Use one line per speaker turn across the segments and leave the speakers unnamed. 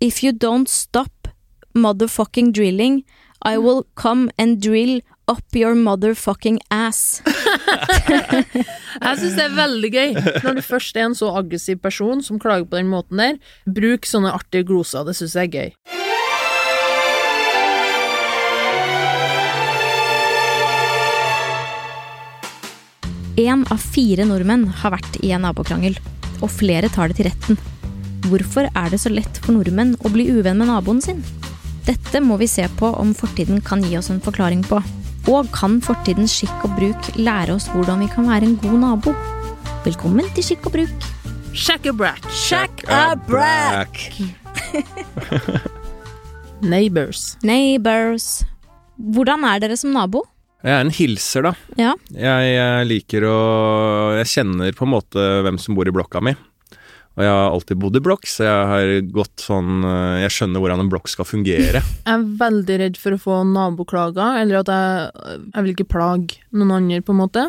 If you don't stop motherfucking drilling, I will come and drill up your motherfucking ass.
Jeg syns det er veldig gøy. Når du først er en så aggressiv person som klager på den måten der, bruk sånne artige gloser. Det syns jeg er gøy.
Én av fire nordmenn har vært i en nabokrangel, og flere tar det til retten. Hvorfor er det så lett for nordmenn å bli uvenn med naboen sin? Dette må vi se på om fortiden kan gi oss en forklaring på. Og kan fortidens skikk og bruk lære oss hvordan vi kan være en god nabo? Velkommen til Skikk og bruk.
Shackabrack. Neighbors.
Neighbors. Hvordan er dere som nabo?
Jeg er en hilser, da.
Ja.
Jeg, jeg liker å Jeg kjenner på en måte hvem som bor i blokka mi. Og jeg har alltid bodd i blokk, så jeg har gått sånn eh, Jeg skjønner hvordan en blokk skal fungere.
Jeg er veldig redd for å få naboklager, eller at jeg, jeg vil ikke plage noen andre, på en måte.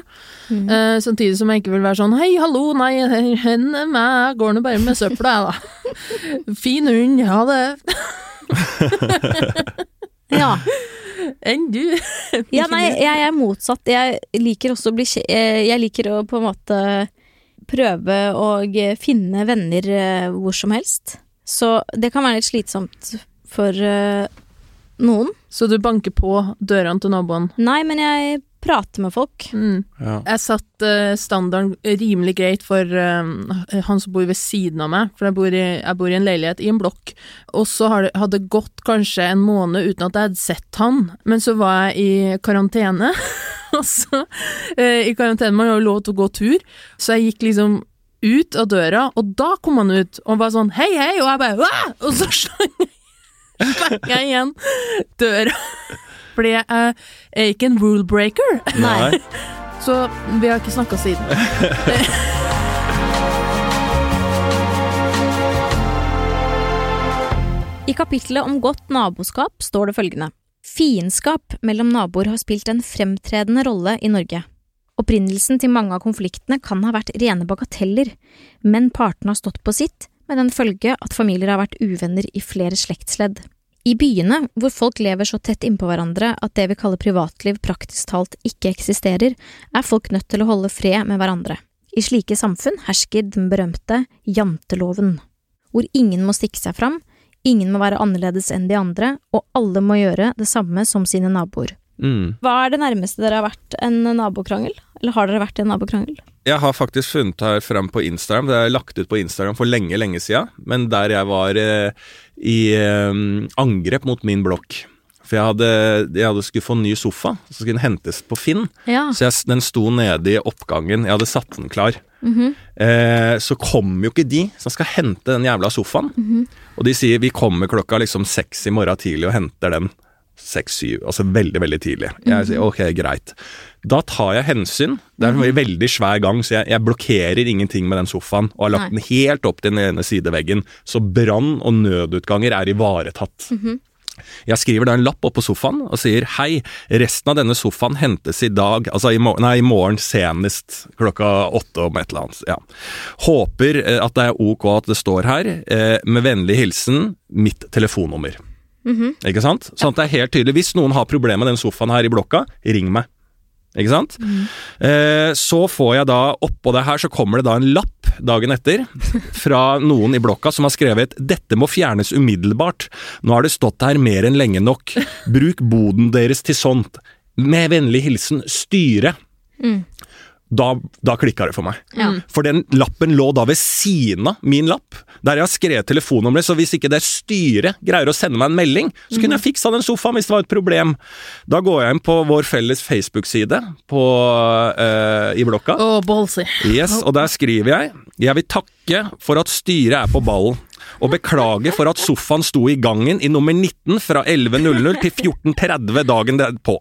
Mm.
Eh, samtidig som jeg ikke vil være sånn hei, hallo, nei, hen er meg, jeg går nå bare med søpla, jeg, da. Fin hund, ha det.
ja.
Enn du.
Ja, nei, jeg er motsatt. Jeg liker også å bli kje- eh, Jeg liker å på en måte prøve å eh, finne venner eh, hvor som helst. Så det kan være litt slitsomt for eh, noen.
Så du banker på dørene til naboene.
Nei, men jeg prater med folk.
Mm.
Ja.
Jeg satte eh, standarden rimelig greit for eh, han som bor ved siden av meg, for jeg bor i, jeg bor i en leilighet i en blokk, og så har det- hadde det gått kanskje en måned uten at jeg hadde sett han, men så var jeg i karantene, og så eh, i karantene man har jo lov til å gå tur, så jeg gikk liksom ut av døra, og da kom han ut, og var sånn hei hei, og jeg bare Wah! og så slang jeg, slang jeg igjen døra, fordi jeg er ikke en rule breaker.
Nei.
Så vi har ikke snakka siden.
I kapitlet om godt naboskap står det følgende. Fiendskap mellom naboer har spilt en fremtredende rolle i Norge. Opprinnelsen til mange av konfliktene kan ha vært rene bagateller, men partene har stått på sitt, med den følge at familier har vært uvenner i flere slektsledd. I byene, hvor folk lever så tett innpå hverandre at det vi kaller privatliv praktisk talt ikke eksisterer, er folk nødt til å holde fred med hverandre. I slike samfunn hersker den berømte janteloven, hvor ingen må stikke seg fram, Ingen må være annerledes enn de andre, og alle må gjøre det samme som sine naboer.
Mm.
Hva er det nærmeste dere har vært en nabokrangel? Eller har dere vært i en nabokrangel?
Jeg har faktisk funnet her fram på Instagram. Det er lagt ut på Instagram for lenge, lenge sida. Men der jeg var eh, i eh, angrep mot min blokk. For jeg hadde, jeg hadde skulle få en ny sofa, så skulle den hentes på Finn.
Ja.
Så jeg, s- den sto nede i oppgangen. Jeg hadde satt den klar.
Mhm.
eh, så kom jo ikke de som skal hente den jævla sofaen.
Mhm.
Og de sier vi kommer klokka liksom seks i morgen tidlig og henter den seks-syv. Altså veldig, veldig tidlig. Jeg
Mhm.
sier ok, greit. Da tar jeg hensyn. Det er en veldig svær gang, så jeg, jeg blokkerer ingenting med den sofaen. Og har lagt
Nei.
den helt opp til den ene sideveggen. Så brann og nødutganger er ivaretatt. Jeg skriver da en lapp oppå sofaen og sier hei, resten av denne sofaen hentes i dag, altså i morgen, nei, i morgen senest klokka åtte om et eller annet. Ja. Håper eh, at det er ok at det står her, eh, med vennlig hilsen mitt telefonnummer. Ikke sant? Sånn at det er helt tydelig. Hvis noen har problemer med den sofaen her i blokka, ring meg. Ikke sant? Eh, så får jeg da oppå det her, så kommer det da en lapp dagen etter fra noen i blokka som har skrevet 'Dette må fjernes umiddelbart. Nå har det stått her mer enn lenge nok. Bruk boden deres til sånt. Med vennlig hilsen styret'. Da, da klikka det for meg. For den lappen lå da ved siden av min lapp, der jeg har skrevet telefonnummeret, så hvis ikke det styret greier å sende meg en melding, så kunne jeg fiksa den sofaen hvis det var et problem. Da går jeg inn på vår felles Facebook-side på, eh, i blokka.
Å, ballsy.
Yes, og der skriver jeg Jeg vil takke for at styret er på ballen og beklage for at sofaen sto i gangen i nummer 19 fra 11.00 til 14.30 dagen derpå.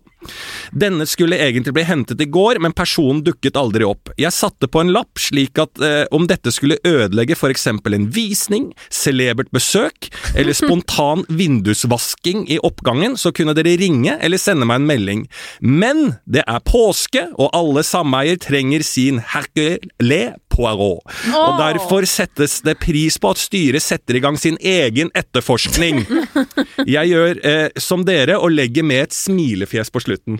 Denne skulle egentlig bli hentet i går, men personen dukket aldri opp. Jeg satte på en lapp slik at eh, om dette skulle ødelegge for eksempel en visning, celebert besøk eller spontan vindusvasking i oppgangen, så kunne dere ringe eller sende meg en melding. Men det er påske, og alle sameier trenger sin herkele Poirot. Og derfor settes det pris på at styret setter i gang sin egen etterforskning. Jeg gjør eh, som dere og legger med et smilefjes på slutten.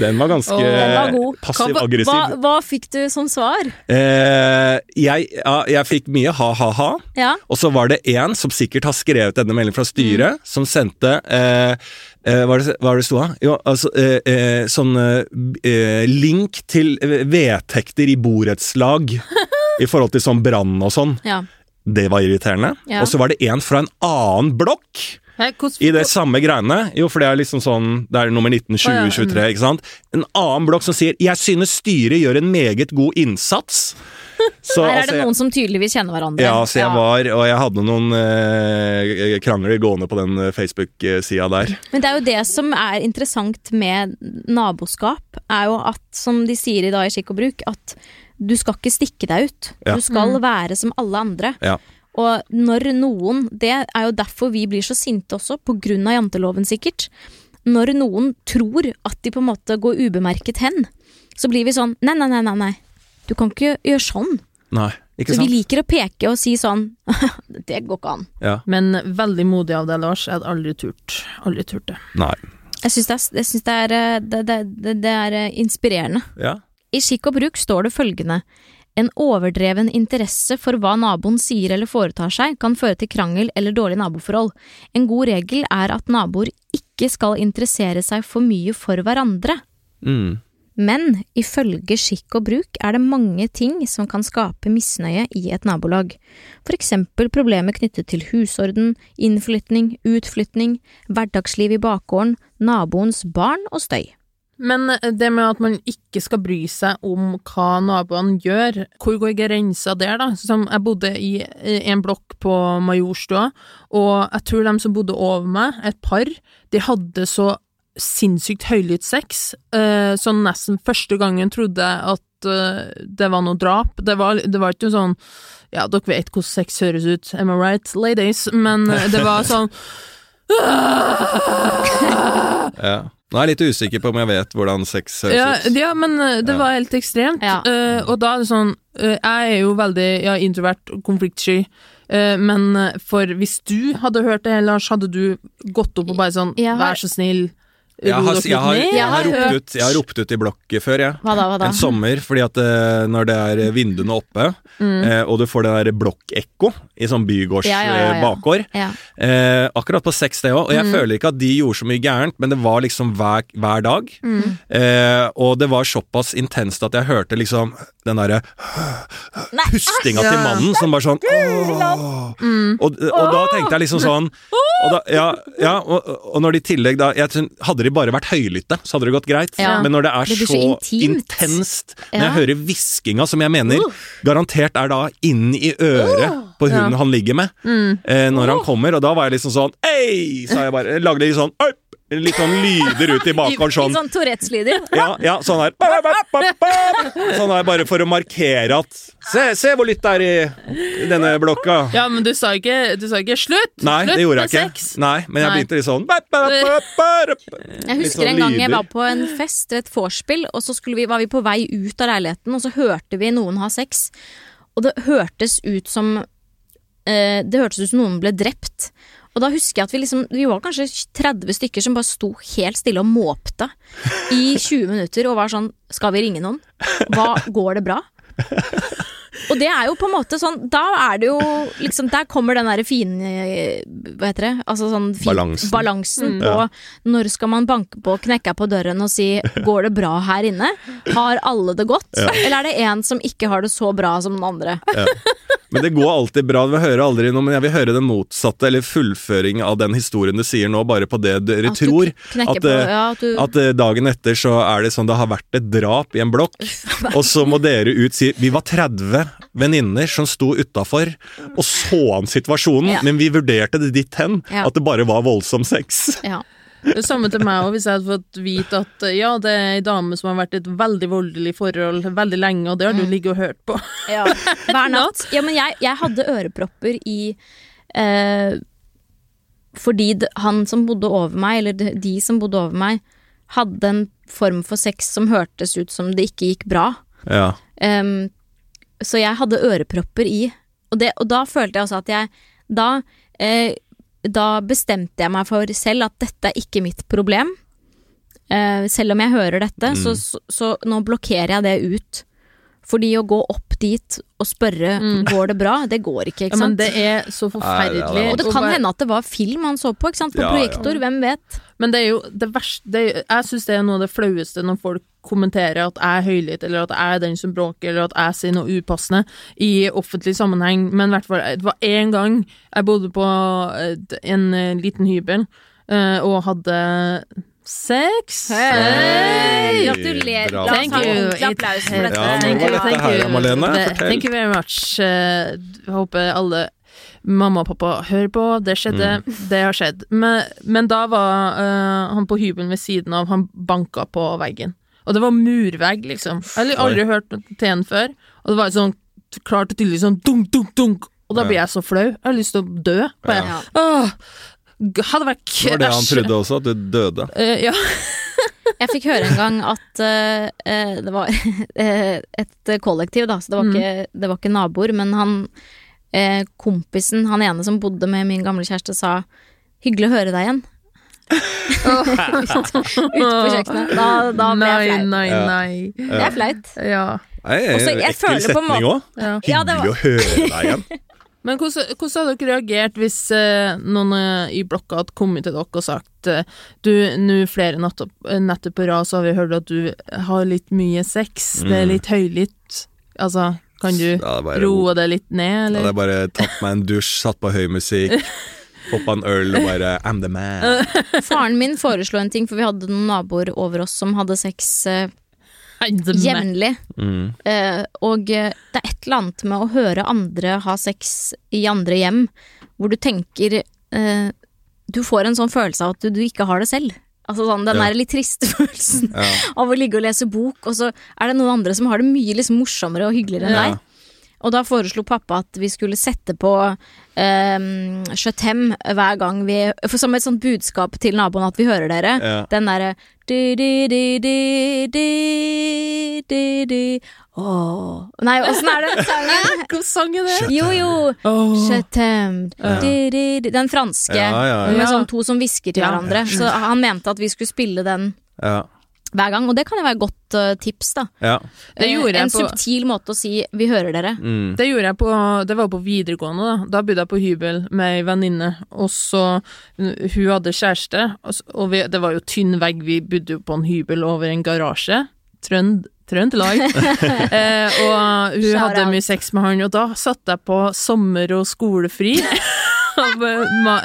Den var ganske
Ah! Den var god.
passiv-aggressiv.
Hva, hva fikk du som svar?
Eh, jeg, ja, jeg fikk mye ha-ha-ha.
Ja.
Og så var det én som sikkert har skrevet denne meldingen fra styret,
Mm.
som sendte eh, eh, Hva er det hva er det det sto da? Jo, altså eh, eh, Sånn eh, eh, link til eh, vedtekter i borettslag i forhold til sånn brann og sånn.
ja.
Det var irriterende.
Ja.
Og så var det en fra en annen blokk
Hæ, hvordan-
i det samme greiene. Jo, for det er liksom sånn Det er nummer 19, 20,
Å, ja,
23, ikke sant. En annen blokk som sier 'Jeg synes styret gjør en meget god innsats'. Så,
Her er
altså,
det
jeg-
noen som tydeligvis kjenner hverandre.
ja, så jeg var, og jeg hadde noen eh, krangler gående på den eh, Facebook-sida der.
Men det er jo det som er interessant med naboskap, er jo at, som de sier i dag i Skikk og bruk, at du skal ikke stikke deg ut.
Ja.
Du skal være som alle andre.
Ja.
Og når noen Det er jo derfor vi blir så sinte også, på grunn av janteloven sikkert. Når noen tror at de på en måte går ubemerket hen, så blir vi sånn Nei, nei, nei, nei. nei. Du kan ikke gjøre sånn.
Nei, ikke
Så vi
sant?
liker å peke og si sånn Det går ikke an.
Ja.
Men veldig modig av deg, Lars. Jeg hadde aldri turt. Aldri turt det.
Nei.
Jeg syns det, er- jeg synes det, er, eh, det, det, det, det er eh, inspirerende.
Ja.
I Skikk og bruk står det følgende En overdreven interesse for hva naboen sier eller foretar seg, kan føre til krangel eller dårlig naboforhold. En god regel er at naboer ikke skal interessere seg for mye for hverandre.
Mm.
Men ifølge skikk og bruk er det mange ting som kan skape misnøye i et nabolag. For eksempel problemer knyttet til husorden, innflytning, utflytning, hverdagsliv i bakgården, naboens barn og støy.
Men eh, det med at man ikke skal bry seg om hva naboene gjør, hvor går grensa der, da? Som jeg bodde i eh, en blokk på Majorstua, og jeg tror de som bodde over meg, et par, de hadde så sinnssykt høylytt sex, eh, så nesten første gangen trodde jeg at eh, det var noe drap. Det var, det var ikke noe sånn Ja, dere vet hvordan sex høres ut, am I right, ladies? Men eh, det var sånn
ja. Nå er jeg litt usikker på om jeg vet hvordan sex
Ja,
høres ut.
ja, men eh, det
Ja.
var helt ekstremt.
Ja.
Eh, og da er det sånn eh, Jeg er jo veldig ja, introvert og konfliktsky, eh, men eh, for hvis du hadde hørt det, her, Lars, hadde du gått opp og bare sånn
Jeg har-
Vær så snill,
Jeg
ro
har,
dere
jeg, har,
litt ned.
jeg,
Jeg har
har ropt ut, jeg har ropt ut i blokk før, jeg.
Hva da, hva da?
En sånn sommer, fordi at eh, når det er vinduene oppe, eh, og du får det der blokkekko i sånn bygårds
Mm. Ja, ja, Mm. ja,
eh,
ja.
bakgård,
Ja.
Eh, akkurat på sex det òg, og jeg føler ikke at de gjorde så mye gærent, men det var liksom hver, hver dag.
Mm.
Eh, og det var såpass intenst at jeg hørte liksom den derre
Nei,
pustinga
æsj!
til
Ja.
mannen som bare sånn «Åh!» og,
Mm.
og da tenkte jeg liksom sånn og da, Ja, ja og, og når de i tillegg da jeg, tror- Hadde de bare vært høylytte, så hadde det gått greit,
Ja.
men når det er
Det blir
så,
så intimt.
intenst Når
Ja. Uh.
jeg hører hviskinga, som jeg mener garantert er da inn i øret på hun han ligger med,
Mm.
eh, når
Uh.
han kommer, og da var jeg liksom sånn Ei! sa jeg bare. Lagde litt sånn «Øpp!» Litt sånn lyder ut i bakgården sånn.
Litt sånn Tourettes-lyder.
Ja, ja, sånn her. Bap, bap, bap, bap. Sånn her bare for å markere at Se, se hvor lytt det er i, i denne blokka.
Ja, men du sa ikke, du sa ikke 'slutt'!
Nei,
slutt
det gjorde jeg
med
ikke.
sex!
Nei, men jeg
Nei.
begynte litt sånn bap, bap, bap, bap, bap.
Jeg
Litt
husker
sånn
en gang jeg
lyder.
var på en fest, et vorspiel, og så skulle vi, var vi på vei ut av leiligheten, og så hørte vi noen ha sex. Og det hørtes ut som eh, Det hørtes ut som noen ble drept. Og da husker jeg at vi liksom Vi var kanskje 30 stykker som bare sto helt stille og måpte i 20 minutter og var sånn Skal vi ringe noen? Hva, går det bra? Og det er jo på en måte sånn Da er det jo liksom Der kommer den derre fine eh, Hva heter det? Altså sånn fin,
Balansen.
balansen på når skal man banke på, knekke på døren og si 'går det bra her inne'? Har alle det godt? Eller er det en som ikke har det så bra som den andre?
Men det går alltid bra. Vi hører aldri noe, men jeg vil høre den motsatte, eller fullføring av den historien du sier nå, bare på det dere
At du
tror.
knekker
at,
på-
eh,
ja, at du-
eh, dagen etter så er det sånn det har vært et drap i en blokk, og så må dere ut si Vi var 30 venninner som sto utafor og så an situasjonen,
Ja.
men vi vurderte det ditt hen
Ja.
at det bare var voldsom sex.
Ja.
Det samme til meg òg, hvis jeg hadde fått vite at eh, ja, det er ei dame som har vært i et veldig voldelig forhold veldig lenge, og det har du ligget og hørt på.
Hver natt. Ja, men jeg, jeg hadde ørepropper i eh, Fordi d- han som bodde over meg, eller de- de som bodde over meg, hadde en form for sex som hørtes ut som det ikke gikk bra.
Ja.
Em, Så jeg hadde ørepropper i. Og, det, og da følte jeg også at jeg da, eh, da bestemte jeg meg for selv at dette er ikke mitt problem. Eh, selv om jeg hører dette,
Mm.
så, så, så nå blokkerer jeg det ut. Fordi å gå opp dit og spørre går det bra, Mm. det går ikke.
Ja,
ikke
men
sant?
det er så forferdelig.
Nei, det er
og det
å
kan
være-
hende at det var film han så på, ikke sant? på
Ja, ja.
projektor, hvem vet?
Men det er jo det verste det er, Jeg syns det er noe av det flaueste når folk kommenterer at jeg er høylytt, eller at jeg er den som bråker, eller at jeg sier noe upassende i offentlig sammenheng. Men i hvert fall, det var én gang jeg bodde på et- en eh, liten hybel eh, og hadde sex.
Hei!
Gratulerer.
Bra.
La oss
Thank
ha en
you.
ordentlig applaus for
It-
dette.
Ja, men
Thank
hva var
you,
dette
thank
her,
you.
Malene?
Det-
Fortell.
Thank you very much. Eh, håper alle mamma og pappa hører på. Det skjedde,
Mm.
det har skjedd. Men, men da var eh, han på hybelen ved siden av, han banka på veggen. Og det var murvegg, liksom. Jeg har aldri hørt til en før. Og det var sånn klart og tydelig sånn dunk, dunk, dunk. Og da blir jeg så flau. Jeg har lyst til å dø. Bare,
Ja.
Åh, g- ha det vekk.
Det var det han
Æsj.
trodde også, at du døde.
Eh, ja.
Jeg fikk høre en gang at eh, eh, det var eh, et kollektiv, da, så det var,
Mm.
ikke, det var ikke naboer, men han eh, kompisen, han ene som bodde med min gamle kjæreste, sa 'hyggelig å høre deg igjen' ute på kjøkkenet. Da, da ble jeg
Nei,
flau.
nei,
Ja.
nei.
Det er flaut.
Ja.
Nei,
Og så jeg
ekkel
føler på en
setning
måte-
også.
ja.
Ja, det var-
Hyggelig å høre deg igjen.
Men hvordan, hvordan hadde dere reagert hvis eh, noen eh, i blokka hadde kommet til dere og sagt eh, Du, nå flere natter, netter på rad så har vi hørt at du har litt mye sex, det er litt høylytt. Altså, kan du
Ja, det er bare-
roe det litt ned,
Da
eller?
hadde jeg bare tatt meg en dusj, satt på høy musikk, poppa en øl og bare I'm the man.
Faren min foreslo en ting, for vi hadde noen naboer over oss som hadde sex eh,
Nei, det er meg.
jevnlig.
Mm.
Eh, og eh, det er et eller annet med å høre andre ha sex i andre hjem, hvor du tenker eh, Du får en sånn følelse av at du, du ikke har det selv. Altså sånn, Den
Ja.
der litt triste følelsen
Ja.
av å ligge og lese bok, og så er det noen andre som har det mye liksom, morsommere og hyggeligere enn
Ja.
deg. Og da foreslo pappa at vi skulle sette på um, Chatem hver gang vi for Som et sånt budskap til naboen at vi hører dere.
Ja.
Den derre du, du, du, du, du, du, du. Åh. Nei, åssen er den sangen?
Hvilken sang er det?
Jo, jo.
Åh.
Chatem.
Ja.
Du, du, du. Den franske.
Ja, ja,
ja.
Med sånn to som hvisker til
Ja.
hverandre. Så han mente at vi skulle spille den
Ja.
hver gang. Og det kan jo være et godt eh, tips, da.
ja.
Det gjorde
Eh,
jeg
en
på-
subtil måte å si 'vi hører dere'.
Mm.
Det gjorde jeg på, det var på videregående da. Da bodde jeg på hybel med ei venninne, og så Hun hadde kjæreste, og s- og vi, det var jo tynn vegg, vi bodde jo på en hybel over en garasje. Trønd, Trøndelag. eh, og hun
Shout
hadde
out.
mye sex med han, og da satt jeg på sommer- og skolefri. av, eh, Ma,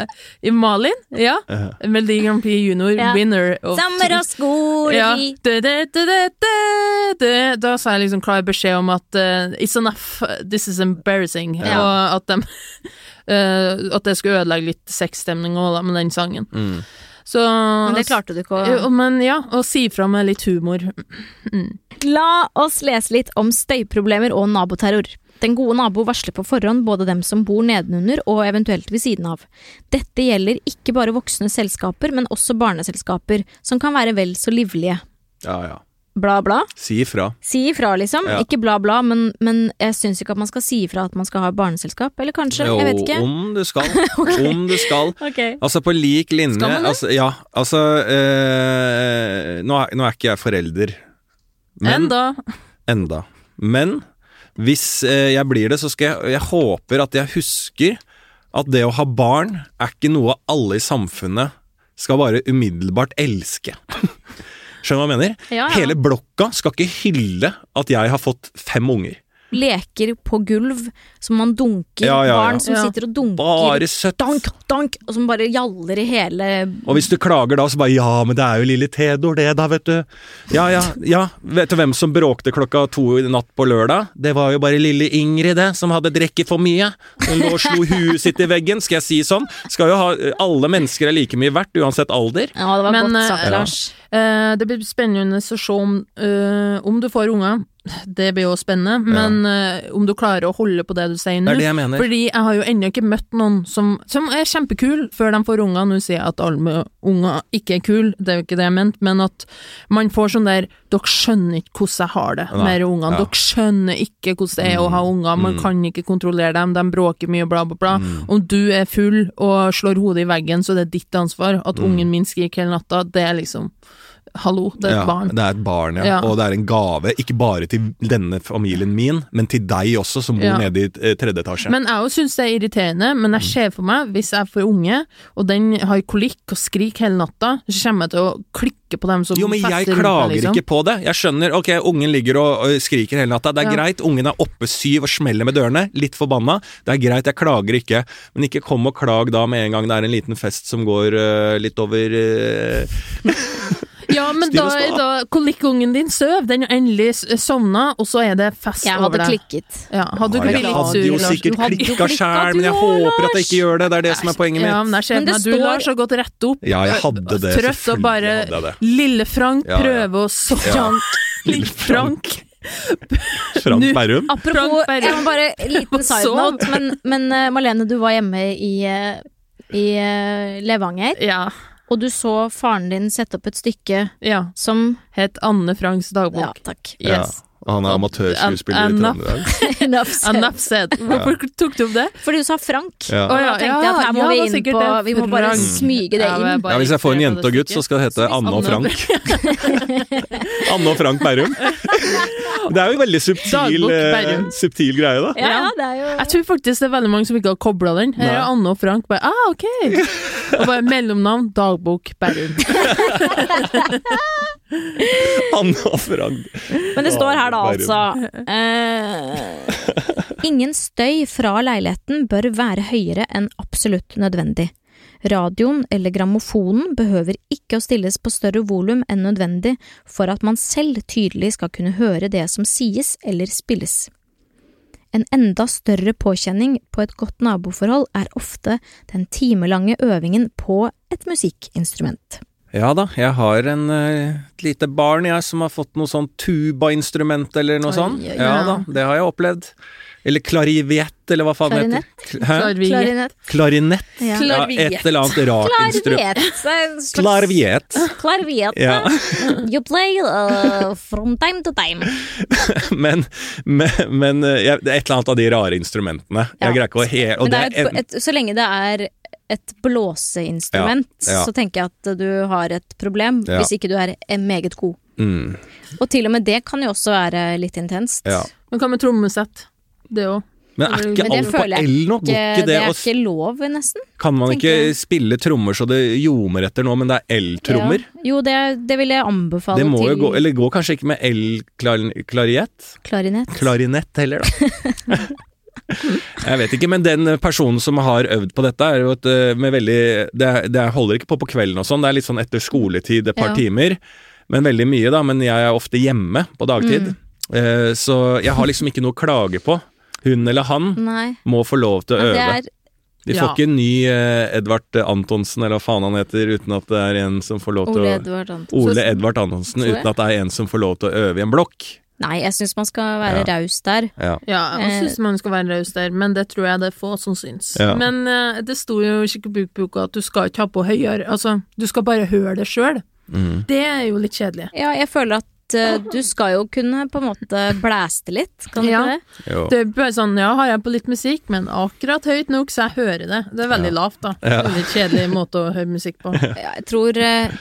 I Malin, ja.
Ja.
Melodi Grand Prix Junior,
Ja.
winner. of
Sommer og skole
ja.
vi-
Da, da, da, da, da, da. da sa jeg liksom klar beskjed om at eh, It's enough, this is embarrassing.
Ja.
Og at, dem, eh, at det skulle ødelegge litt sexstemninga med den sangen.
Mm.
Så
Men det klarte du ikke å
Jo, Men ja, og si fra med litt humor.
La oss lese litt om støyproblemer og naboterror. Den gode nabo varsler på forhånd både dem som bor nedenunder og eventuelt ved siden av. Dette gjelder ikke bare voksne selskaper, men også barneselskaper, som kan være vel så livlige.
ja, ja.
Bla, bla.
Si ifra.
Si ifra, liksom.
Ja.
Ikke bla, bla, men, men jeg syns ikke at man skal si ifra at man skal ha barneselskap, eller kanskje? Jeg vet ikke.
om du skal. Om du skal.
Ok.
Altså på lik linje
Skal man det?
Altså, ja, altså eh, nå, er, nå er ikke jeg forelder. Men
Enda.
enda. Men hvis eh, jeg blir det, så skal jeg Jeg håper at jeg husker at det å ha barn er ikke noe alle i samfunnet skal bare umiddelbart elske. Skjønner du hva jeg mener?
Ja, ja.
Hele blokka skal ikke hylle at jeg har fått fem unger.
leker på gulv som man dunker.
Ja, ja, ja.
Barn som
Ja.
sitter og dunker.
Bare søtt.
Dank, dank, og som bare gjaller i hele
Og hvis du klager da, så bare ja, men det er jo lille Theodor det da, vet du. Ja, ja, ja. Vet du hvem som bråkte klokka to i natt på lørdag? Det var jo bare lille Ingrid det, som hadde drukket for mye. Hun lå og slo huet sitt i veggen, skal jeg si sånn. Skal jo ha, alle mennesker er like mye verdt, uansett alder.
Ja, det var
Men,
godt
eh,
sagt,
ja.
Lars.
Eh, det blir spennende å se om, eh, om du får unger. Det blir jo spennende, men eh, om du klarer å holde på det du sier
Det
nå.
er det jeg mener.
Fordi jeg har jo ennå ikke møtt noen som, som er kjempekul før de får unger. Nå sier jeg at alle med unger ikke er kul, det er jo ikke det jeg mente, men at man får sånn der Dere skjønner ikke hvordan jeg har det
Nei,
med ungene.
ja.
Dere skjønner ikke hvordan det er å ha unger. Man
mm.
kan ikke kontrollere dem, de bråker mye, bla, bla, bla.
Mm.
Om du er full og slår hodet i veggen, så det er ditt ansvar. At
Mm.
ungen min skriker hele natta, det er liksom Hallo, det er et
ja,
barn.
Det er et barn, ja.
Ja.
Og det er en gave, ikke bare til denne familien min, men til deg også, som bor
Ja.
nede i eh, tredje etasje.
Men jeg syns det er irriterende, men
Mm.
jeg ser for meg, hvis jeg får unge, og den har kolikk og skrik hele natta, så kommer jeg til å klikke på dem som
jo, men jeg
fester rundt
klager
meg, liksom.
ikke på det. Jeg skjønner, ok, ungen ligger og, og skriker hele natta. Det er
Ja.
greit, ungen er oppe syv og smeller med dørene. Litt forbanna. Det er greit, jeg klager ikke. Men ikke kom og klag da med en gang det er en liten fest som går eh, litt over eh,
Ja, men
Styr
da
og
er
stå.
da kolikkungen din søv, den har endelig s- sovna, og så er det fest
Jeg
over
hadde
deg.
klikket.
Ja, hadde du
Ja,
ikke blitt
Jeg
litt
hadde
sur,
jo
Lars?
sikkert
Du hadde-
jo
klikka
klikket,
sjøl,
du
men jeg
også,
håper at jeg ikke gjør det. Det er det som er poenget
Ja, men
mitt.
jeg ser
Men det
for meg du,
står-
Lars, har gått rett opp.
Ja, jeg hadde det.
Trøtt og
Selvfølgelig
bare
hadde jeg det.
Lille Frank
Ja, ja.
prøve å sovne
Ja. Lille
Lille Frank.
Frank
Nu-
Berrum.
Apropos,
Frank Berrum.
jeg må bare en liten side
Sov.
note, men, men eh, Malene, du var hjemme i, eh, i eh, Levanger,
Ja.
og du så faren din sette opp et stykke
ja.
som
Het Anne Franks
Ja,
dagbok.
takk.
Ja.
Yes.
Og han er amatørskuespiller i
Enough.
Trøndelag.
Enough said.
Enough said. Hvorfor tok du opp det?
Fordi du sa Frank.
Ja.
Og da
Å, ja,
tenkte jeg at her
ja,
må vi
det var
inn
sikkert
på
det.
Vi må bare
Frank.
smyge det
Ja, jeg
inn.
bare
Ja, hvis jeg får en
irriterer på
jente og
det
gutt, så skal det hete
stykket.
Anne og
Anne og
Frank. Anne og Frank Berrum. Det er jo en veldig subtil,
Dagbok
eh,
Berrum.
subtil greie, da.
Ja, det er jo
Jeg tror faktisk det er veldig mange som ikke har kobla den. Her er
Nei.
Anne og Frank bare ah, ok! Og bare mellomnavn dagbok Berrum.
Anne og Frank.
Men det står her da
Berrum.
altså eh, Ingen støy fra leiligheten bør være høyere enn absolutt nødvendig. Radioen eller grammofonen behøver ikke å stilles på større volum enn nødvendig for at man selv tydelig skal kunne høre det som sies eller spilles. En enda større påkjenning på et godt naboforhold er ofte den timelange øvingen på et musikkinstrument.
Ja da, jeg har en, eh, et lite barn jeg som har fått noe sånn tuba-instrument eller noe
Oi,
sånt.
oi, oi.
Ja da, det har jeg opplevd. Eller klariviett, eller hva faen det heter. Kl- Hæ?
Klarvige.
Klarinett.
Ja.
Ja, et eller annet rart instrument.
Klarviet.
Klarviett.
Klarviet.
Ja.
You play uh, from time to time.
Men, men, men eh, jeg, det er et eller annet av de rare instrumentene.
Ja.
Jeg greier ikke å he... Og
Men det
det
er jo
er en,
et, et, så lenge det er et blåseinstrument,
Ja, ja.
så tenker jeg at du har et problem
Ja.
hvis ikke du er eh, meget god.
mm,
Og til og med det kan jo også være litt intenst.
ja.
Men hva med trommesett? Det òg.
Men er
Mm,
ikke
Men det
alt på
føler jeg
L nå? Går
Ikke-
ikke
det
det
er
å
ikke lov, nesten.
Kan man
tenker
ikke
jeg.
spille trommer så det ljomer etter nå, men det er L-trommer?
Ja. Jo, det, det vil jeg anbefale
Det må jo
til
gå, eller går kanskje ikke med L-klariett?
klarinett.
Klarinett heller, da. Jeg vet ikke, men den personen som har øvd på dette, er jo et eh, med veldig det, er- det holder ikke på på kvelden og sånn, det er litt sånn etter skoletid, et par
Ja.
timer. Men veldig mye, da. Men jeg er ofte hjemme på
Mm.
dagtid. Eh, Så jeg har liksom ikke noe å klage på. Hun eller han
Nei.
må få lov til å
Men
øve.
Mm. det er
Vi
Ja.
får ikke en ny eh, Edvard Antonsen, eller hva faen han heter, uten at det er en som får lov til
Ole
å
Edvard Antonsen.
Ole Edvard Antonsen,
Tror jeg.
uten at det er en som får lov til å øve i en blokk.
Nei, jeg syns man skal være raus der.
Ja.
Ja, jeg
Eh.
syns man skal være raus der, men det tror jeg det er få som syns.
Ja.
Men eh, det sto jo i Skikkebukboka at du skal ikke ha på høyere, altså, du skal bare høre det sjøl.
Mm.
Det er jo litt kjedelig.
Ja, jeg føler at eh, du skal jo kunne på en måte blæste litt, kan du
Ja.
ikke det?
Jo.
Det er bare sånn, ja, har jeg på litt musikk, men akkurat høyt nok, så jeg hører det. Det er veldig lavt, da. Det er en Litt kjedelig måte å høre musikk på.
Ja, jeg tror eh,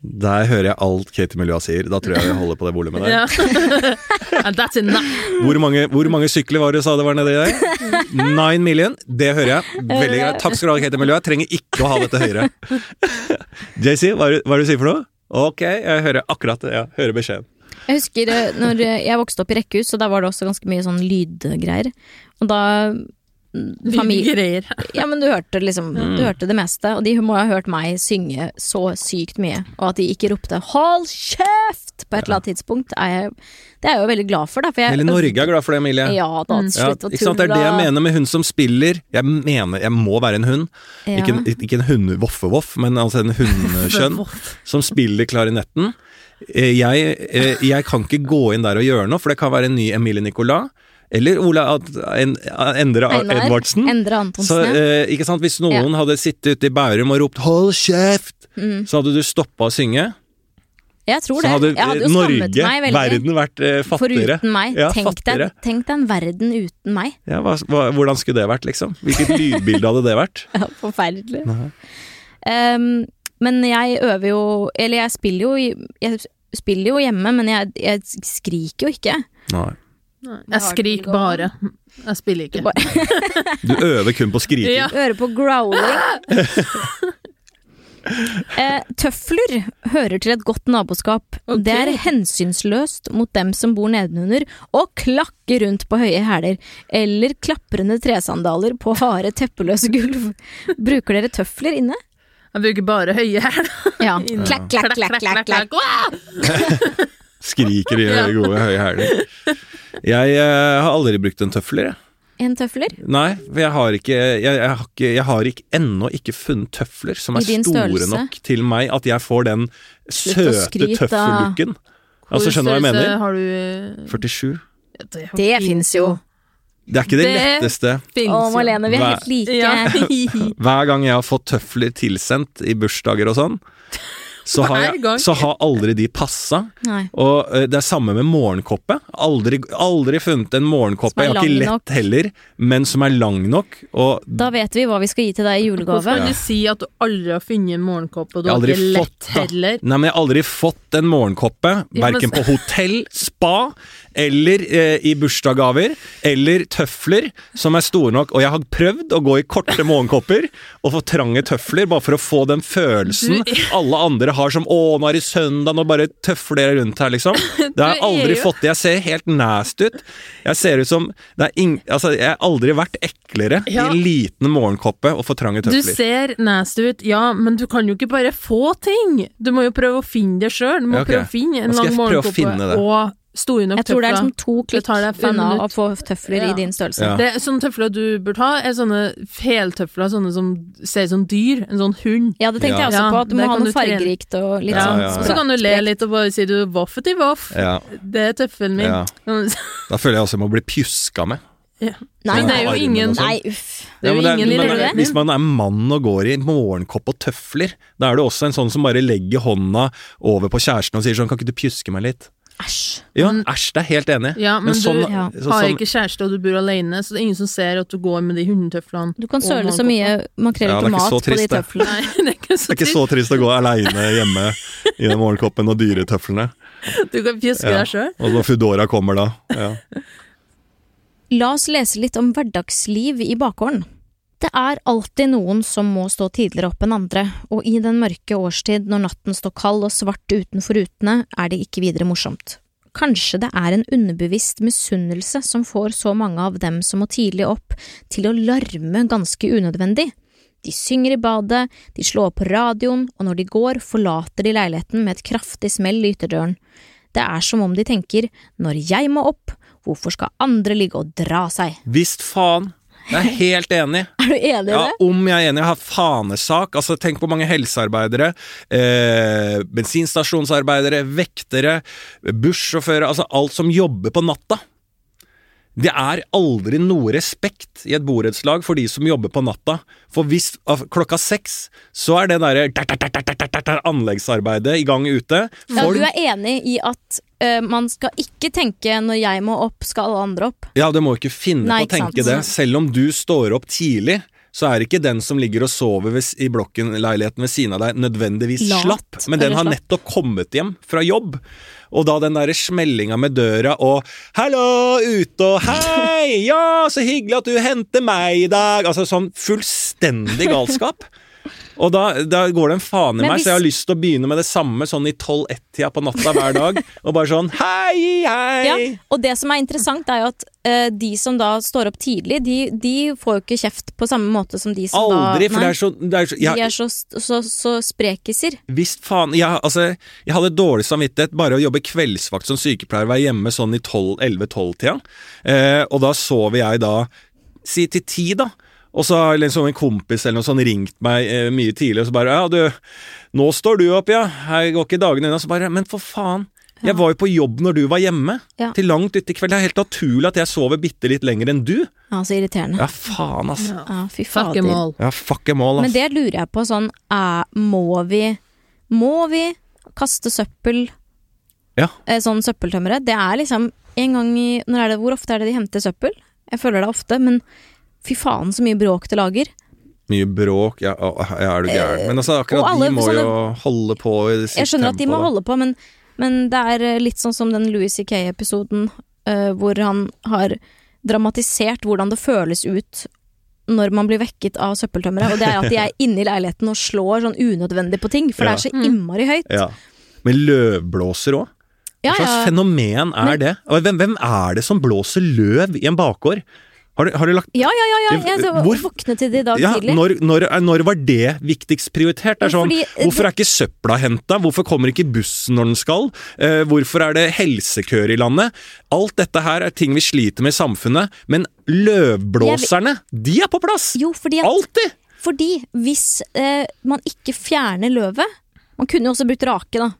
Der hører jeg alt Katie Melua sier. Da tror jeg vi holder på det volumet der.
Ja. And that's enough.
Hvor, mange, hvor mange sykler var det du sa det var nedi der? Nine million. Det hører jeg. Veldig greit. Takk skal du ha, Katie Melua. Jeg trenger ikke å ha dette høyere. JC, hva er det hva er det du sier for noe? Ok, jeg hører akkurat det. Ja, hører beskjeden.
Jeg husker eh, når eh, jeg vokste opp i rekkehus, og da var det også ganske mye sånn lydgreier. Og da mm, familie,
Greier.
Ja, men du hørte liksom Du hørte det meste, og de må ha hørt meg synge så sykt mye, og at de ikke ropte 'hold kjeft'! uansett, på et eller annet tidspunkt. Er jeg, det er jeg jo veldig glad for, da. For jeg,
Hele Norge er glad for det, Emilie.
Eh, Ja da,
Mm.
slutt å
ikke sant? Det er det jeg mener med hun som spiller. Jeg mener jeg må være en hund.
Ja.
Ikke en, ikke en hundevoffevoff, men altså en hundekjønn som spiller klarinetten. Eh, Jeg, eh, jeg kan ikke gå inn der og gjøre noe, for det kan være en ny Emilie Nicolas. Eller Ola at- en, Endre
Einar,
Edvardsen.
Endre
Så,
Antonsen. ja.
eh, ikke sant? Hvis noen
Ja.
hadde sittet ute i Bærum og ropt 'hold kjeft', så hadde du stoppa å synge.
Jeg Mm. tror
Så
det.
hadde, eh,
jeg hadde jo
Norge,
skammet meg veldig.
verden, vært eh, fattigere.
Foruten meg.
Ja,
tenk, deg,
fattigere.
tenk deg en verden uten meg.
Ja, hva, hva, hvordan skulle det vært, liksom? Hvilket lydbilde hadde det vært?
Ja, Forferdelig. Ehm, men jeg øver jo Eller jeg spiller jo, i- jeg spiller jo hjemme, men jeg, jeg skriker jo ikke.
Nei.
Jeg skriker bare. Jeg spiller ikke.
Bare-
Du øver kun på skriking.
Ja.
Øre på growling. Eh, tøfler hører til et godt naboskap.
Ok.
Det er hensynsløst mot dem som bor nedenunder og klakker rundt på høye hæler eller klaprende tresandaler på harde, teppeløse gulv. Bruker dere tøfler inne?
Jeg bruker bare høye hæler.
Ja. Klakk, klakk, klakk, klakk. klakk.
Wow!
Skriker i høye, gode høye hæler. Jeg eh, har aldri brukt en tøfler, jeg.
En tøfler?
Nei, for jeg har ikke Jeg, jeg har, ikke, jeg har ikke, ennå ikke funnet tøfler som
I
er
din
store
størrelse?
nok til meg at jeg får den
å
søte
skryte.
tøffellooken. Altså, skjønner du hva jeg
Hvor størrelse
mener?
Har du
47.
Det,
Det fins jo.
Det er ikke det,
Det-
letteste.
finnes
Å,
jo.
Malene, vi er
Hva-
helt like.
Ja.
Hver gang jeg har fått tøfler tilsendt i bursdager og sånn, så har,
Hver gang.
jeg, så har aldri de passa.
Nei.
Og eh, det er samme med morgenkoppe. Aldri, aldri funnet en
Som
morgenkoppe.
er
Jeg har ikke
lang
lett
nok.
heller, men som er lang nok. Og
Da vet vi hva vi skal gi til deg i
Hvorfor
julegave.
kan du si at du aldri har funnet en morgenkåpe, og du
jeg har
har
aldri
ikke lett
fått da.
heller?
Nei, men jeg har aldri fått en morgenkoppe.
men-
Verken på hotell, spa eller eh, i bursdagsgaver. Eller tøfler som er store nok. Og jeg har prøvd å gå i korte morgenkopper og få trange tøfler, bare for å få den følelsen alle andre har som 'Å, nå er det søndag, nå bare tøfler jeg rundt her', liksom. Det har jeg
Du er
aldri
jo-
fått. Jeg ser helt nasty ut. Jeg ser ut som det er ing, altså, Jeg har aldri vært eklere
Ja.
i en liten morgenkoppe og for trange
Du
tøfler.
ser nasty ut, ja, men du kan jo ikke bare få ting! Du må jo prøve å finne det sjøl. Du må
Ja, ok.
prøve å finne en
Nå skal
lang
jeg prøve å finne
morgenkåpe
det.
og store nok
Jeg tror det er liksom to
Det
klikk
tar deg fem
unna å
minutter.
få tøfler
Ja.
i din størrelse.
Ja.
Det er Sånne tøfler du burde ha, er sånne heltøfler, sånne som ser ut som dyr. En sånn hund.
Ja, det tenkte
Ja.
jeg også
Ja,
på. At du må
det
ha
kan
noe
du trene.
fargerikt og litt
Ja,
sånn.
ja, ja.
spra-
Så kan du le litt og bare si du voffeti voff.
Ja,
Det er tøffelen min.
Ja. da føler jeg også jeg må bli pjuska med.
Nei,
det
Men
er jo
nei,
armen
ingen-
og sånn.
nei, uff.
Det er jo
Ja, men
ingen i
men
røde.
Hvis man er mann og går i morgenkopp og tøfler, da er du også en sånn som bare legger hånda over på kjæresten og sier sånn, kan ikke du pjuske meg litt?
Æsj.
Ja, æsj, det er jeg helt enig. i.
Ja, men du
sånn,
ja,
så-
har
sånn-
ikke kjæreste og du bor alene, så det er ingen som ser at du går med de hundetøflene.
Du kan
og
søle så
morgenkåpa.
mye makrell i
Ja, det er ikke
tomat
så
på de
trist, det.
tøflene.
Nei, det er ikke så,
det er ikke så trist å gå aleine hjemme i den morgenkoppen og dyretøflene.
trist. Du kan pjuske
Ja.
deg sjøl.
Og når Foodora kommer da. Ja.
La oss lese litt om hverdagsliv i bakgården. Det er alltid noen som må stå tidligere opp enn andre, og i den mørke årstid når natten står kald og svart utenfor rutene, er det ikke videre morsomt. Kanskje det er en underbevisst misunnelse som får så mange av dem som må tidlig opp, til å larme ganske unødvendig. De synger i badet, de slår på radioen, og når de går, forlater de leiligheten med et kraftig smell i ytterdøren. Det er som om de tenker, når jeg må opp, hvorfor skal andre ligge og dra seg?
Visst faen! Jeg er helt enig.
Er du enig i
Ja,
det?
om jeg er enig, jeg har fanesak. Altså, tenk på mange helsearbeidere, eh, bensinstasjonsarbeidere, vektere, bussjåfører, altså alt som jobber på natta. Det er aldri noe respekt i et borettslag for de som jobber på natta. For hvis av klokka seks, så er det derre der, der, der, der, der, der, der, anleggsarbeidet i gang ute.
Ja,
Folk,
du er enig i at eh, man skal ikke tenke 'når jeg må opp, skal alle andre opp'?
ja, du må jo ikke finne
Nei,
på
ikke
å tenke
sant.
det. Selv om du står opp tidlig, så er ikke den som ligger og sover ved, s- i blokken, leiligheten ved siden av deg, nødvendigvis
Lat,
slapp, men den
eller
har
slapp.
nettopp kommet hjem fra jobb. Og da den derre smellinga med døra og 'hallo, ute' og 'hei, ja, så hyggelig at du henter meg i dag' Altså sånn fullstendig galskap. Og da, da går det en faen i
Men
meg,
hvis-
så jeg har lyst til å begynne med det samme sånn i 12-1-tida på natta hver dag. Og bare sånn hei, hei!
Ja, og det som er interessant, er jo at eh, de som da står opp tidlig, de, de får jo ikke kjeft på samme måte som de som
Aldri,
da
for det er så, det er så jeg-
De er så, så, så sprekiser.
Visst faen jeg, altså, jeg hadde dårlig samvittighet bare å jobbe kveldsvakt som sykepleier, være hjemme sånn i 11-12-tida. Eh, og da sover jeg da Si til ti, da. Og så har liksom en kompis eller noe sånn ringt meg eh, mye tidlig og så bare Ja, du, nå står du opp, ja. Her går ikke dagene unna. Så bare Men for faen. Jeg var jo på jobb når du var hjemme.
Ja.
Til langt uti kveld. Det er helt naturlig at jeg sover bitte litt lenger enn du.
Ja, så irriterende.
Ja, faen, ass.
Ja, fy
Fuck em
fader.
all.
Ja, fuck em all,
Men
ass.
det lurer jeg på sånn, er, må vi Må vi kaste søppel,
Ja.
eh, sånn søppeltømmere? Det er liksom en gang i når er det, Hvor ofte er det de henter søppel? Jeg føler det er ofte, men fy faen så mye bråk det lager.
Mye bråk, ja, å, ja er du gæren. Men altså, akkurat
og alle
de må
sånne-
jo holde på i sitt
Jeg skjønner at de må
tempo, da.
holde på, men, men det er eh, litt sånn som den Louis C.K.-episoden eh, hvor han har dramatisert hvordan det føles ut når man blir vekket av søppeltømmere. Og det er at de er inne i leiligheten og slår sånn unødvendig på ting, for det er så innmari høyt.
Ja. Men løvblåser òg?
Ja,
Hva slags
ja.
fenomen er det? Og Hvem, hvem er det som blåser løv i en bakgård? Har du, har du lagt
Ja, ja, ja, ja. Jeg så-
Hvor-
våknet til det i dag
ja,
tidlig.
når, når, når var det viktigst prioritert? Det er sånn,
Fordi- eh,
hvorfor er ikke søpla henta? Hvorfor kommer ikke bussen når den skal? Eh, hvorfor er det helsekøer i landet? Alt dette her er ting vi sliter med i samfunnet, men løvblåserne, de er på plass!
Jo, fordi, at,
Alltid!
fordi hvis eh, man ikke fjerner løvet Man kunne jo også brukt rake, da.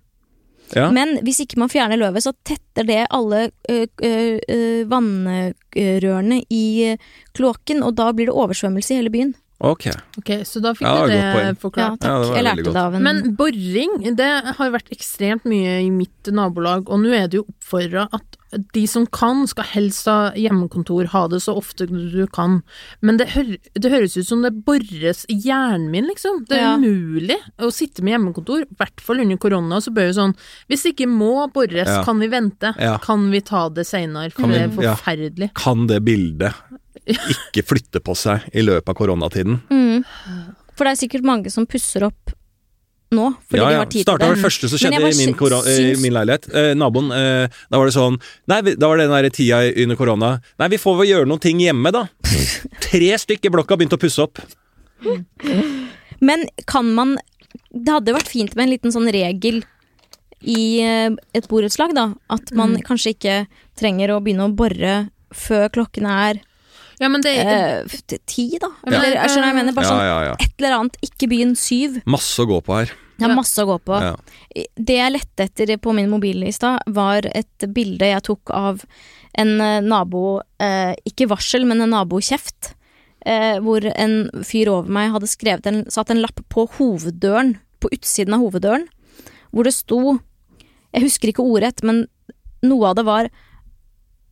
Ja.
Men hvis ikke man fjerner løvet, så tetter det alle ø, ø, ø, vannrørene i ø, kloakken, og da blir det oversvømmelse i hele byen.
Ok.
Ok, så da fikk du
Ja, godt
det
poeng.
Ja,
forklart.
takk.
Ja, det var
jeg
veldig
lærte
godt.
det av en
Men boring, det har vært ekstremt mye i mitt nabolag, og nå er det jo oppfordra at de som kan, skal helst ha hjemmekontor, ha det så ofte du kan. Men det, hør, det høres ut som det borres i hjernen min, liksom. Det er
Ja.
umulig å sitte med hjemmekontor, i hvert fall under korona, så bør jo sånn Hvis det ikke må borres,
Ja.
kan vi vente?
Ja.
Kan vi ta det seinere? For
Kan
det er
vi- ja.
forferdelig.
kan det bildet ikke flytte på seg i løpet av koronatiden.
mm. For det er sikkert mange som pusser opp nå, fordi
ja,
de
ja.
har tid til
Starta
det.
med det første som
Men jeg
skjedde
bare
i min,
sy-
koro- i
syns-
min leilighet. Eh, naboen, eh, da var det sånn Nei, vi- da var det den der tida i- under korona. Nei, vi får vel gjøre noen ting hjemme, da. Tre stykker i blokka begynte å pusse opp.
Men kan man Det hadde vært fint med en liten sånn regel i eh, et borettslag, da. At man
Mm.
kanskje ikke trenger å begynne å bore før klokken er
Ja, men det
eh, f- ti, da.
Ja.
Eller, jeg skjønner hva jeg mener. Bare sånn
ja, ja.
et eller annet, ikke byen syv.
Masse å gå på her.
Det er
Ja.
masse å gå på.
Ja.
Det jeg lette etter på min mobil i stad, var et bilde jeg tok av en eh, nabo eh, Ikke varsel, men en nabokjeft. Eh, hvor en fyr over meg hadde skrevet en, satt en lapp på hoveddøren, på utsiden av hoveddøren, hvor det sto Jeg husker ikke ordrett, men noe av det var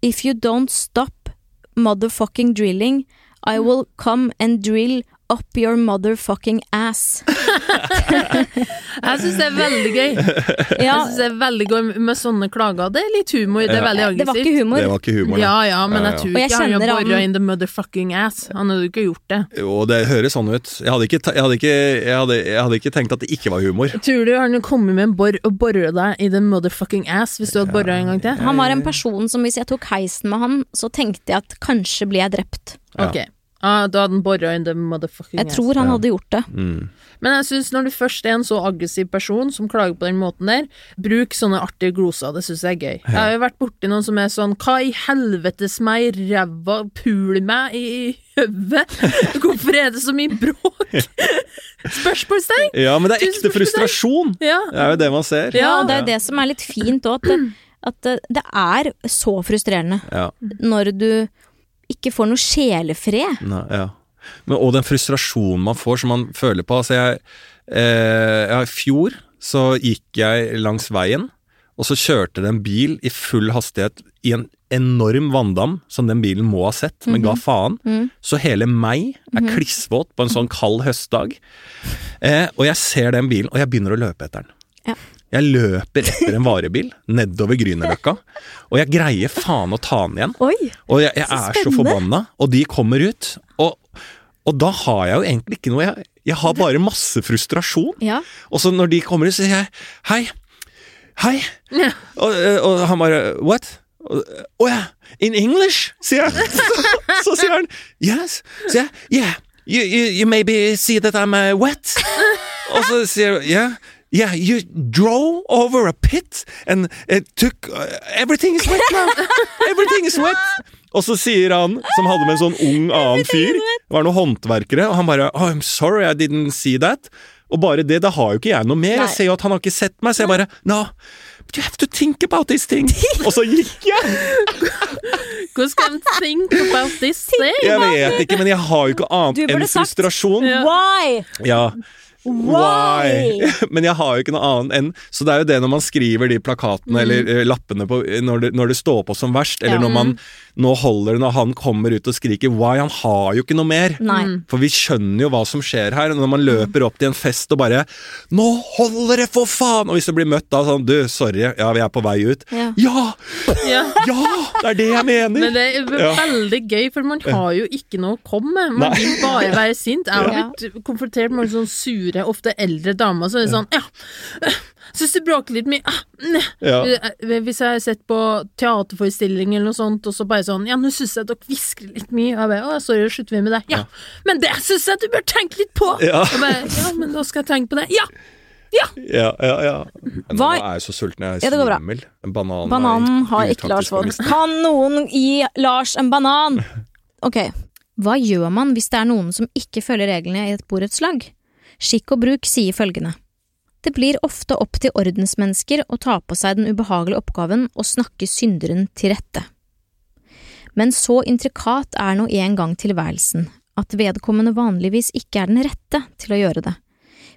If you don't stop motherfucking drilling, I will come and drill up your motherfucking ass.
Jeg syns det er veldig gøy. Jeg
Ja,
synes det er veldig gøy med sånne klager. Det er litt humor. Det er veldig
det var
aggressivt.
ikke humor.
Det var ikke humor,
Ja,
da.
ja, men
Ja,
jeg
ja.
tror
Og jeg
ikke han har
kjenner han-
bora in the motherfucking ass. Han hadde jo ikke gjort det.
Jo, det høres sånn ut. Jeg hadde, ikke, ta- jeg, hadde ikke, jeg, hadde, jeg hadde ikke tenkt at det ikke var humor.
Tror du han kommer med en bor og borer deg i the motherfucking ass hvis du hadde bora en gang til?
Han var en person som hvis jeg tok heisen med han, så tenkte jeg at kanskje blir jeg drept.
Ja.
Ok. Ah, da hadde han bora in the motherfucking
Jeg
ass.
tror han hadde gjort det.
Mm.
Men jeg syns når du først er en så aggressiv person som klager på den måten der, bruk sånne artige gloser. Det syns jeg er gøy. Jeg har jo vært borti noen som er sånn Hva i helvetes meg, ræva, pul meg i i høvet? Hvorfor er det så mye bråk? Spørsmålstegn?
Ja, men det er ekte
Tusen
frustrasjon!
Ja.
Det er jo det man ser.
Ja.
Ja, og det er jo det som er litt fint òg, at, det- at det- det er så frustrerende
Ja.
når du ikke får noe sjelefred.
Nei, ja. Men, og den frustrasjonen man får, som man føler på. Altså, jeg, eh, ja, I fjor så gikk jeg langs veien, og så kjørte det en bil i full hastighet i en enorm vanndam, som den bilen må ha sett, men ga faen. Så hele meg er klissvåt på en sånn kald høstdag. Eh, og jeg ser den bilen, og jeg begynner å løpe etter den.
Ja.
Jeg løper etter en varebil nedover Grünerløkka, og jeg greier faen å ta den igjen.
Oi!
Og jeg, jeg
Så
er så
spennende.
forbanna, og de kommer ut. Og, og da har jeg jo egentlig ikke noe jeg, Jeg har bare masse frustrasjon.
Ja.
Og så når de kommer inn, så sier jeg hei, hei.
Ja.
Og, eh, og han bare what? Å ja, in English, sier jeg. Så, så sier han yes. Så jeg yeah, you, you, you maybe see that I'm uh, wet. Og så sier hun yeah. Yeah, you drove over a pit and it took uh, Everything is wet now! Everything is wet! Og så sier han, som hadde med en sånn ung annen fyr Det var noen håndverkere, og han bare Oh, I'm sorry, I didn't see that. Og bare det, da har jo ikke jeg noe mer.
Nei.
Jeg ser jo at han har ikke sett meg, så jeg bare No, but you have to think about these things. Og så gikk jeg!
Hvordan skal jeg think about this thing?
Jeg vet ikke, men jeg har jo ikke
Du
annet
burde
enn
sagt-
frustrasjon.
Why?
Ja. Men jeg har jo ikke noe annet enn Så det er jo det når man skriver de
Mm.
plakatene eller eh, lappene på, når, det, når det står på som verst, eller
Ja.
når man nå holder det når han kommer ut og skriker 'why', han har jo ikke noe mer.
Nei.
Mm.
For vi skjønner jo hva som skjer her, når man løper opp til en fest og bare 'Nå holder det, for faen!' Og hvis du blir møtt da sånn 'Du, sorry, ja, vi er på vei ut'.
Ja.
Ja!
Ja.
Ja! Det er det jeg mener!
Men det er
Ja.
veldig gøy, for man har jo ikke noe å komme med. Man
Nei.
vil bare være sint. Jeg
Ja.
har blitt konfrontert med sånne sure, ofte eldre damer som er sånn Ja, syns du bråker litt mye. Ah, ne.
Ja.
Eh, Hvis jeg har sett på teaterforestilling eller noe sånt, og så bare sånn Ja, nå syns jeg dere hvisker litt mye. Og jeg bare Å, sorry, slutter vi med det? Ja. Men det syns jeg du bør tenke litt på!
Ja.
Og bare, ja, men da skal jeg tenke på det. Ja!
Ja, ja, ja. Men Nå
Hva-
er jeg så sulten, jeg
Ja,
er
det går bra.
svimmel. En banan
Bananen har
i
ikke Lars
utgangspunktet
Vaughn. Kan noen gi Lars en banan? Ok, hva gjør man hvis det er noen som ikke følger reglene i et borettslag? Skikk og bruk sier følgende. Det blir ofte opp til ordensmennesker å ta på seg den ubehagelige oppgaven å snakke synderen til rette. Men så intrikat er nå en gang tilværelsen at vedkommende vanligvis ikke er den rette til å gjøre det.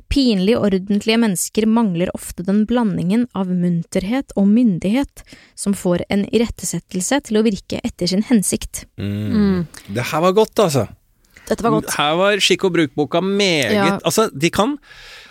Pinlig ordentlige mennesker mangler ofte den blandingen av munterhet og myndighet som får en irettesettelse til å virke etter sin hensikt.
Mm.
Det her var godt, altså.
Dette var godt.
Her var skikk og bruk-boka meget
Ja.
Altså, de kan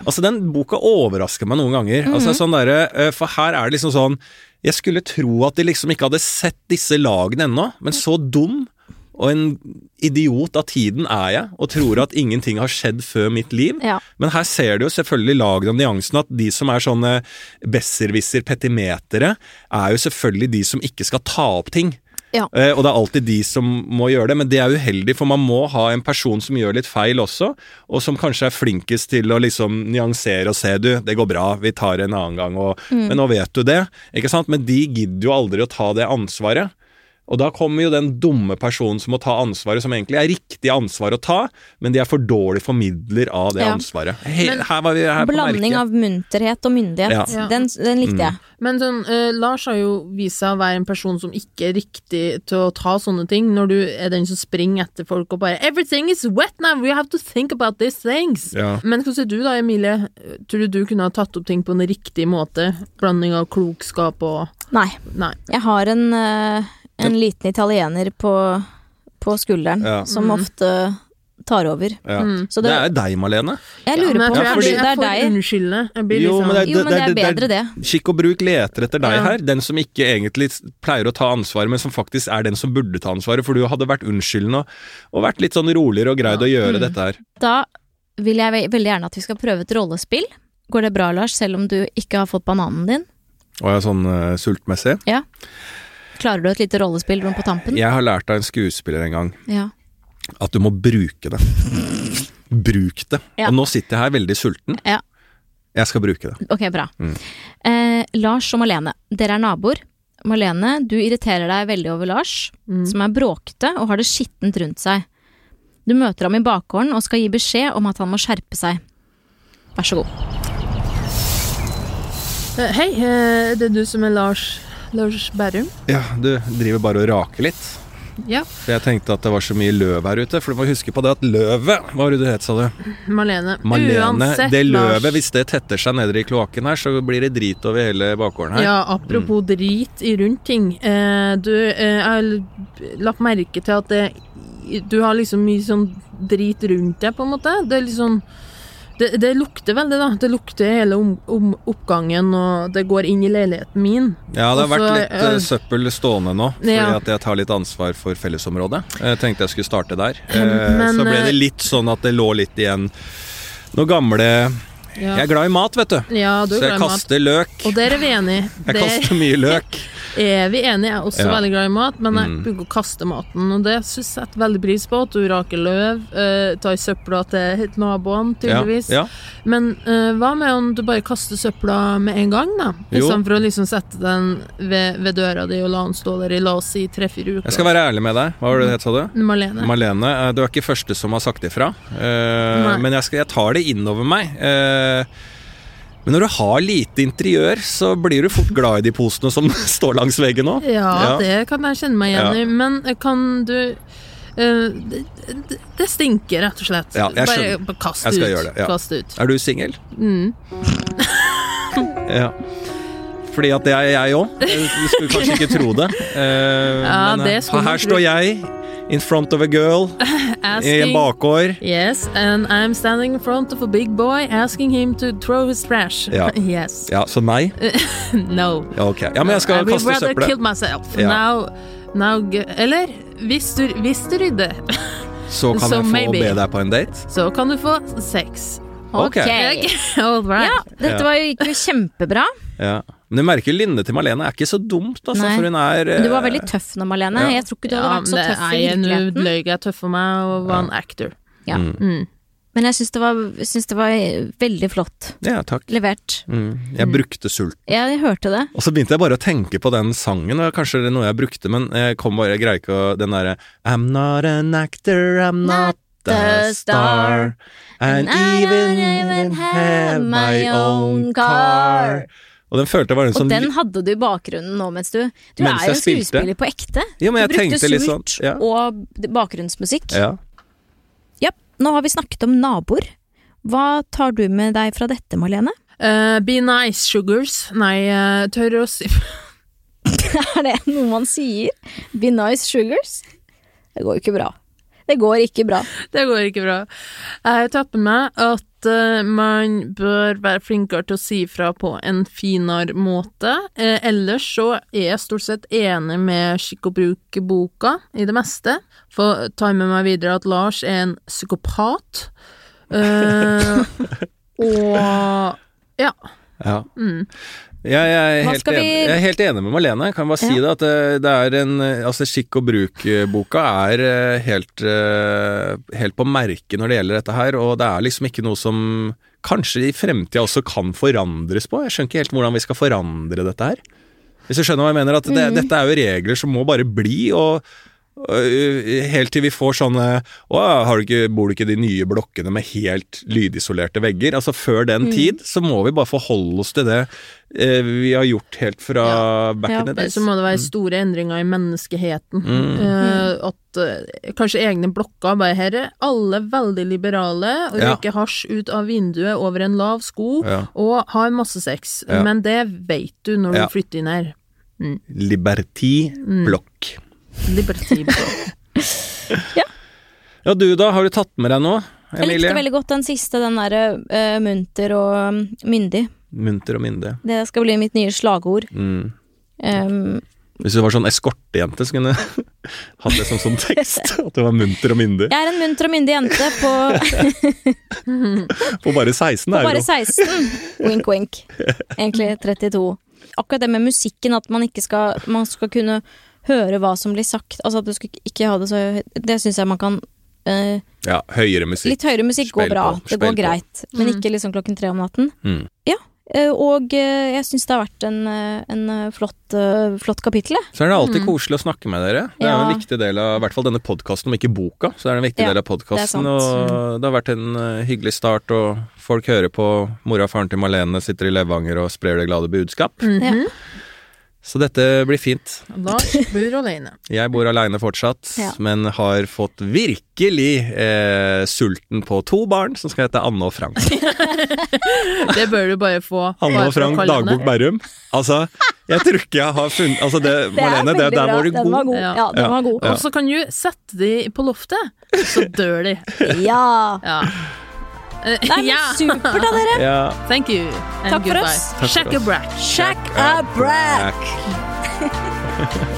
Altså, den boka overrasker meg noen ganger. Altså,
Mhm.
sånn derre eh, For her er det liksom sånn Jeg skulle tro at de liksom ikke hadde sett disse lagene ennå, men så dum og en idiot av tiden er jeg, og tror at ingenting har skjedd før mitt liv.
Ja.
Men her ser du jo selvfølgelig lagene og nyansene, at de som er sånne besserwisser, petimetere, er jo selvfølgelig de som ikke skal ta opp ting.
Ja.
Eh, Og det er alltid de som må gjøre det, men det er uheldig, for man må ha en person som gjør litt feil også, og som kanskje er flinkest til å liksom nyansere og se du, det går bra, vi tar det en annen gang, og,
Mm.
men nå vet du det, ikke sant? Men de gidder jo aldri å ta det ansvaret. Og da kommer jo den dumme personen som må ta ansvaret, som egentlig er riktig ansvar å ta, men de er for dårlig formidler av det
Ja.
ansvaret. He, her var vi her på
Blanding
merket. Mm.
av munterhet og myndighet.
Ja.
Den, den likte jeg.
Men sånn, eh, Lars har jo vist seg å være en person som ikke er riktig til å ta sånne ting, når du er den som springer etter folk og bare 'Everything is wet now, we have to think about these things'.
Ja.
Men hva sier du da, Emilie? Tror du du kunne ha tatt opp ting på en riktig måte? Blanding av klokskap og
Nei.
Nei.
Jeg har en, eh, en liten italiener på, på skulderen
Ja.
som
Mm.
ofte tar over.
Ja.
Så
Det
det,
er jo deg, Malene.
jeg lurer
Men jeg
på
tror jeg
om
blir
det
jeg
er
får Mm.
deg.
unnskyldende. Jeg blir
Jo,
litt
men
sånn
det er-
Jo, men det er bedre det.
Skikk og bruk leter etter deg
Ja.
her. Den som ikke egentlig pleier å ta ansvaret, men som faktisk er den som burde ta ansvaret. For du hadde vært unnskyldende og, og vært litt sånn roligere og greid å
Mm.
gjøre dette her.
Da vil jeg ve veldig gjerne at vi skal prøve et rollespill. Går det bra, Lars, selv om du ikke har fått bananen din?
Og jeg er sånn eh, sultmessig.
Ja. Klarer du et lite rollespill rundt på tampen?
Jeg har lært av en skuespiller en gang
Ja.
at du må bruke det. Bruk det.
Ja.
Og nå sitter jeg her veldig sulten.
Ja.
Jeg skal bruke det.
Ok, bra.
Mm.
Eh, Lars og Malene, dere er naboer. Malene, du irriterer deg veldig over Lars,
Mm.
som er bråkete og har det skittent rundt seg. Du møter ham i bakgården og skal gi beskjed om at han må skjerpe seg. Vær så god.
Eh, Hei, eh, det er du som er Lars Lars Berrum?
Ja, du driver bare og raker litt.
Ja.
For jeg tenkte at det var så mye løv her ute, for du må huske på det at løvet Hva var det du het, sa du?
Malene.
Malene.
Uansett,
Det løvet,
Lars.
hvis det tetter seg nede i kloakken her, så blir det drit over hele bakgården her.
Ja,
Mm.
apropos drit i rundt ting. Eh, du, eh, jeg har l- lagt merke til at det, du har liksom mye sånn drit rundt deg, på en måte. Det er litt sånn det, det lukter veldig, da. Det lukter hele om, om, oppgangen, og det går inn i leiligheten min.
Ja, det har vært
Også,
litt
eh,
eh, søppel stående nå, fordi
Ja.
at jeg tar litt ansvar for fellesområdet. Jeg tenkte jeg skulle starte der. Eh,
Men,
så ble
eh,
det litt sånn at det lå litt igjen noen gamle Jeg
Ja,
er glad i mat, vet du.
ja du
Så
er glad
jeg
i mat.
kaster løk.
Og der er vi enige.
Jeg
Der
kaster mye løk.
er vi enige. Jeg er også
Ja.
veldig glad i mat, men jeg
Mm.
bruker å kaste maten. Og det syns jeg setter veldig pris på. At du raker løv, eh, tar søpla til naboene,
Ja,
tydeligvis.
ja.
Men eh, hva med om du bare kaster søpla med en gang, da? I
Jo.
stedet for å liksom sette den ved, ved døra di og la den stå der i la oss si tre-fire uker.
Jeg skal være ærlig med deg. Hva var det det het, sa du?
Malene.
Malene, eh, du er ikke første som har sagt ifra. Eh,
Nei.
men jeg, skal, jeg tar det innover meg. Eh, men når du har lite interiør, så blir du fort glad i de posene som står langs veggen òg.
ja,
Ja.
det kan jeg kjenne meg igjen
Ja.
i. Men eh, kan du eh, det, det- det stinker, rett og slett.
Ja, jeg
bare
skjønner.
bare kast
Jeg skal
ut.
gjøre det, ja.
Kast ut.
Er du singel?
Mm.
Ja. Fordi at det er jeg òg. Du skulle kanskje ikke tro det. Eh,
Ja,
men,
det
eh,
skulle man
her
tro.
står jeg, in front of a girl, i en
Asking,
bakgård.
yes, and I'm standing in front of a big boy asking him to throw his trash.
Ja.
Yes.
Ja, så meg?
No.
Ja, ok. Ja, men jeg skal
I would
kaste
rather kill
søppelet.
myself.
Ja.
Now, now, g- eller hvis du, hvis du rydder,
Så kan
So
jeg få
maybe.
be deg på en date.
så kan du få sex.
Ok.
Ok.
All right.
Ja, dette var jo, gikk jo kjempebra.
Ja. Men du merker Linne til Malene er ikke så dumt, altså,
Nei.
for hun er eh,
Men du var veldig tøff nå, Malene.
Ja.
Jeg tror ikke du hadde
Ja,
vært så
men det-
tøff i
nei, Nå
virkeligheten.
løy jeg tøff for meg og var en actor.
Ja.
Mm.
Men jeg syns det, var- syns det var veldig flott
Ja, takk.
levert.
Mm. Jeg brukte sult.
Jeg hørte det.
Og så begynte jeg bare å tenke på den sangen, og det var kanskje det er noe jeg brukte, men jeg kom bare, jeg greier ikke å Den derre I'm not an actor, I'm not a star. And
I
even,
don't
even have my own car. Og den følte jeg var en
Og
sånn
den hadde du i bakgrunnen nå mens du Du
Mens
er jo
jeg spilte.
skuespiller på ekte.
Jo,
Du
men jeg
brukte
tenkte litt sånn
sult
ja.
og bakgrunnsmusikk.
ja.
Ja, nå har vi snakket om naboer. Hva tar du med deg fra dette, Malene?
Eh, be nice, sugars. Nei, eh, tør å si
Er det noe man sier? Be nice sugars? Det går jo ikke bra. Det går ikke bra.
Det går ikke bra. Jeg har tatt med meg at eh, man bør være flinkere til å si fra på en finere måte. Eh, ellers så er jeg stort sett enig med Skikk og bruk-boka i det meste. For ta med meg videre at Lars er en psykopat. Eh, og ja.
Ja. Jeg, jeg, er
Mm. Hva
helt
skal vi-
enig, jeg er helt enig med Malene. Jeg kan bare si det at det, det er en eh, Altså, skikk og bruk-boka er eh, helt, eh, helt på merket når det gjelder dette her, og det er liksom ikke noe som kanskje i fremtida også kan forandres på. Jeg skjønner ikke helt hvordan vi skal forandre dette her. Hvis du skjønner hva jeg mener, at det,
Mm.
dette er jo regler som må bare bli, og øh, helt til vi får sånne Å, har du ikke, bor du ikke i de nye blokkene med helt lydisolerte vegger? Altså, før
Mm.
den tid så må vi bare forholde oss til det eh, vi har gjort helt fra back
Ja,
in the
Ellers
days.
så må det være store endringer i menneskeheten.
Mm.
Eh, at eh, kanskje egne blokker bare her er alle veldig liberale og
Ja.
røyker hasj ut av vinduet over en lav sko
Ja.
og har masse sex.
Ja.
Men det vet du når
Ja.
du flytter inn her.
Liberti
Mm.
blokk.
Liberty blokk.
Ja, du da, har du tatt med deg noe,
Jeg
Emilie?
likte veldig godt den siste, den derre eh, munter og mm, myndig.
Munter og myndig.
Det skal bli mitt nye slagord.
Mm.
Um,
Hvis du var sånn eskortejente, så kunne du hatt det som sånn tekst. At du var munter og myndig.
jeg er en munter og myndig jente på,
På bare 16
på
euro.
bare 16. Wink, wink. Egentlig 32. Akkurat det med musikken, at man ikke skal Man skal kunne høre hva som blir sagt. Altså at du skal ikke ha det så Det syns jeg man kan eh,
Ja, høyere musikk.
Litt høyere musikk går
Spill
bra.
på,
Det
spill
går
på.
greit. Men ikke liksom klokken tre om natten.
Mm.
Eh, Og eh, jeg syns det har vært en, eh, en eh, flott, eh, flott kapittel, jeg.
Så er det alltid koselig å snakke med dere. Det er jo
Mm. Ja.
en viktig del av i hvert fall denne podkasten, om ikke boka. Så er det en viktig
Ja,
del av podkasten,
sant.
og det har vært en eh, hyggelig start, og folk hører på mora og faren til Malene sitter i Levanger og sprer det glade budskap.
Mm. Ja.
Så dette blir fint.
Mhm. Lars bor alene.
Jeg bor aleine fortsatt,
Ja.
men har fått virkelig eh, sulten på to barn som skal hete Anne og Frank.
Det bør du bare få.
Anne
bare
og
for å
Frank,
kalle henne.
Dagbok Berrum. Altså, jeg tror ikke jeg har funnet Altså, det,
Det er
Malene, det,
veldig
der
bra.
var du
Den
god.
var god.
Ja.
Ja, den var god.
Og så kan du sette de på loftet, så dør de.
Ja!
Ja. Eh,
Nei, men
ja.
supert av dere!
Ja.
Thank you. And
Takk for
goodbye.
oss.
Takk for
Shack a
oss.
brack.
Shack a brat!
Takk.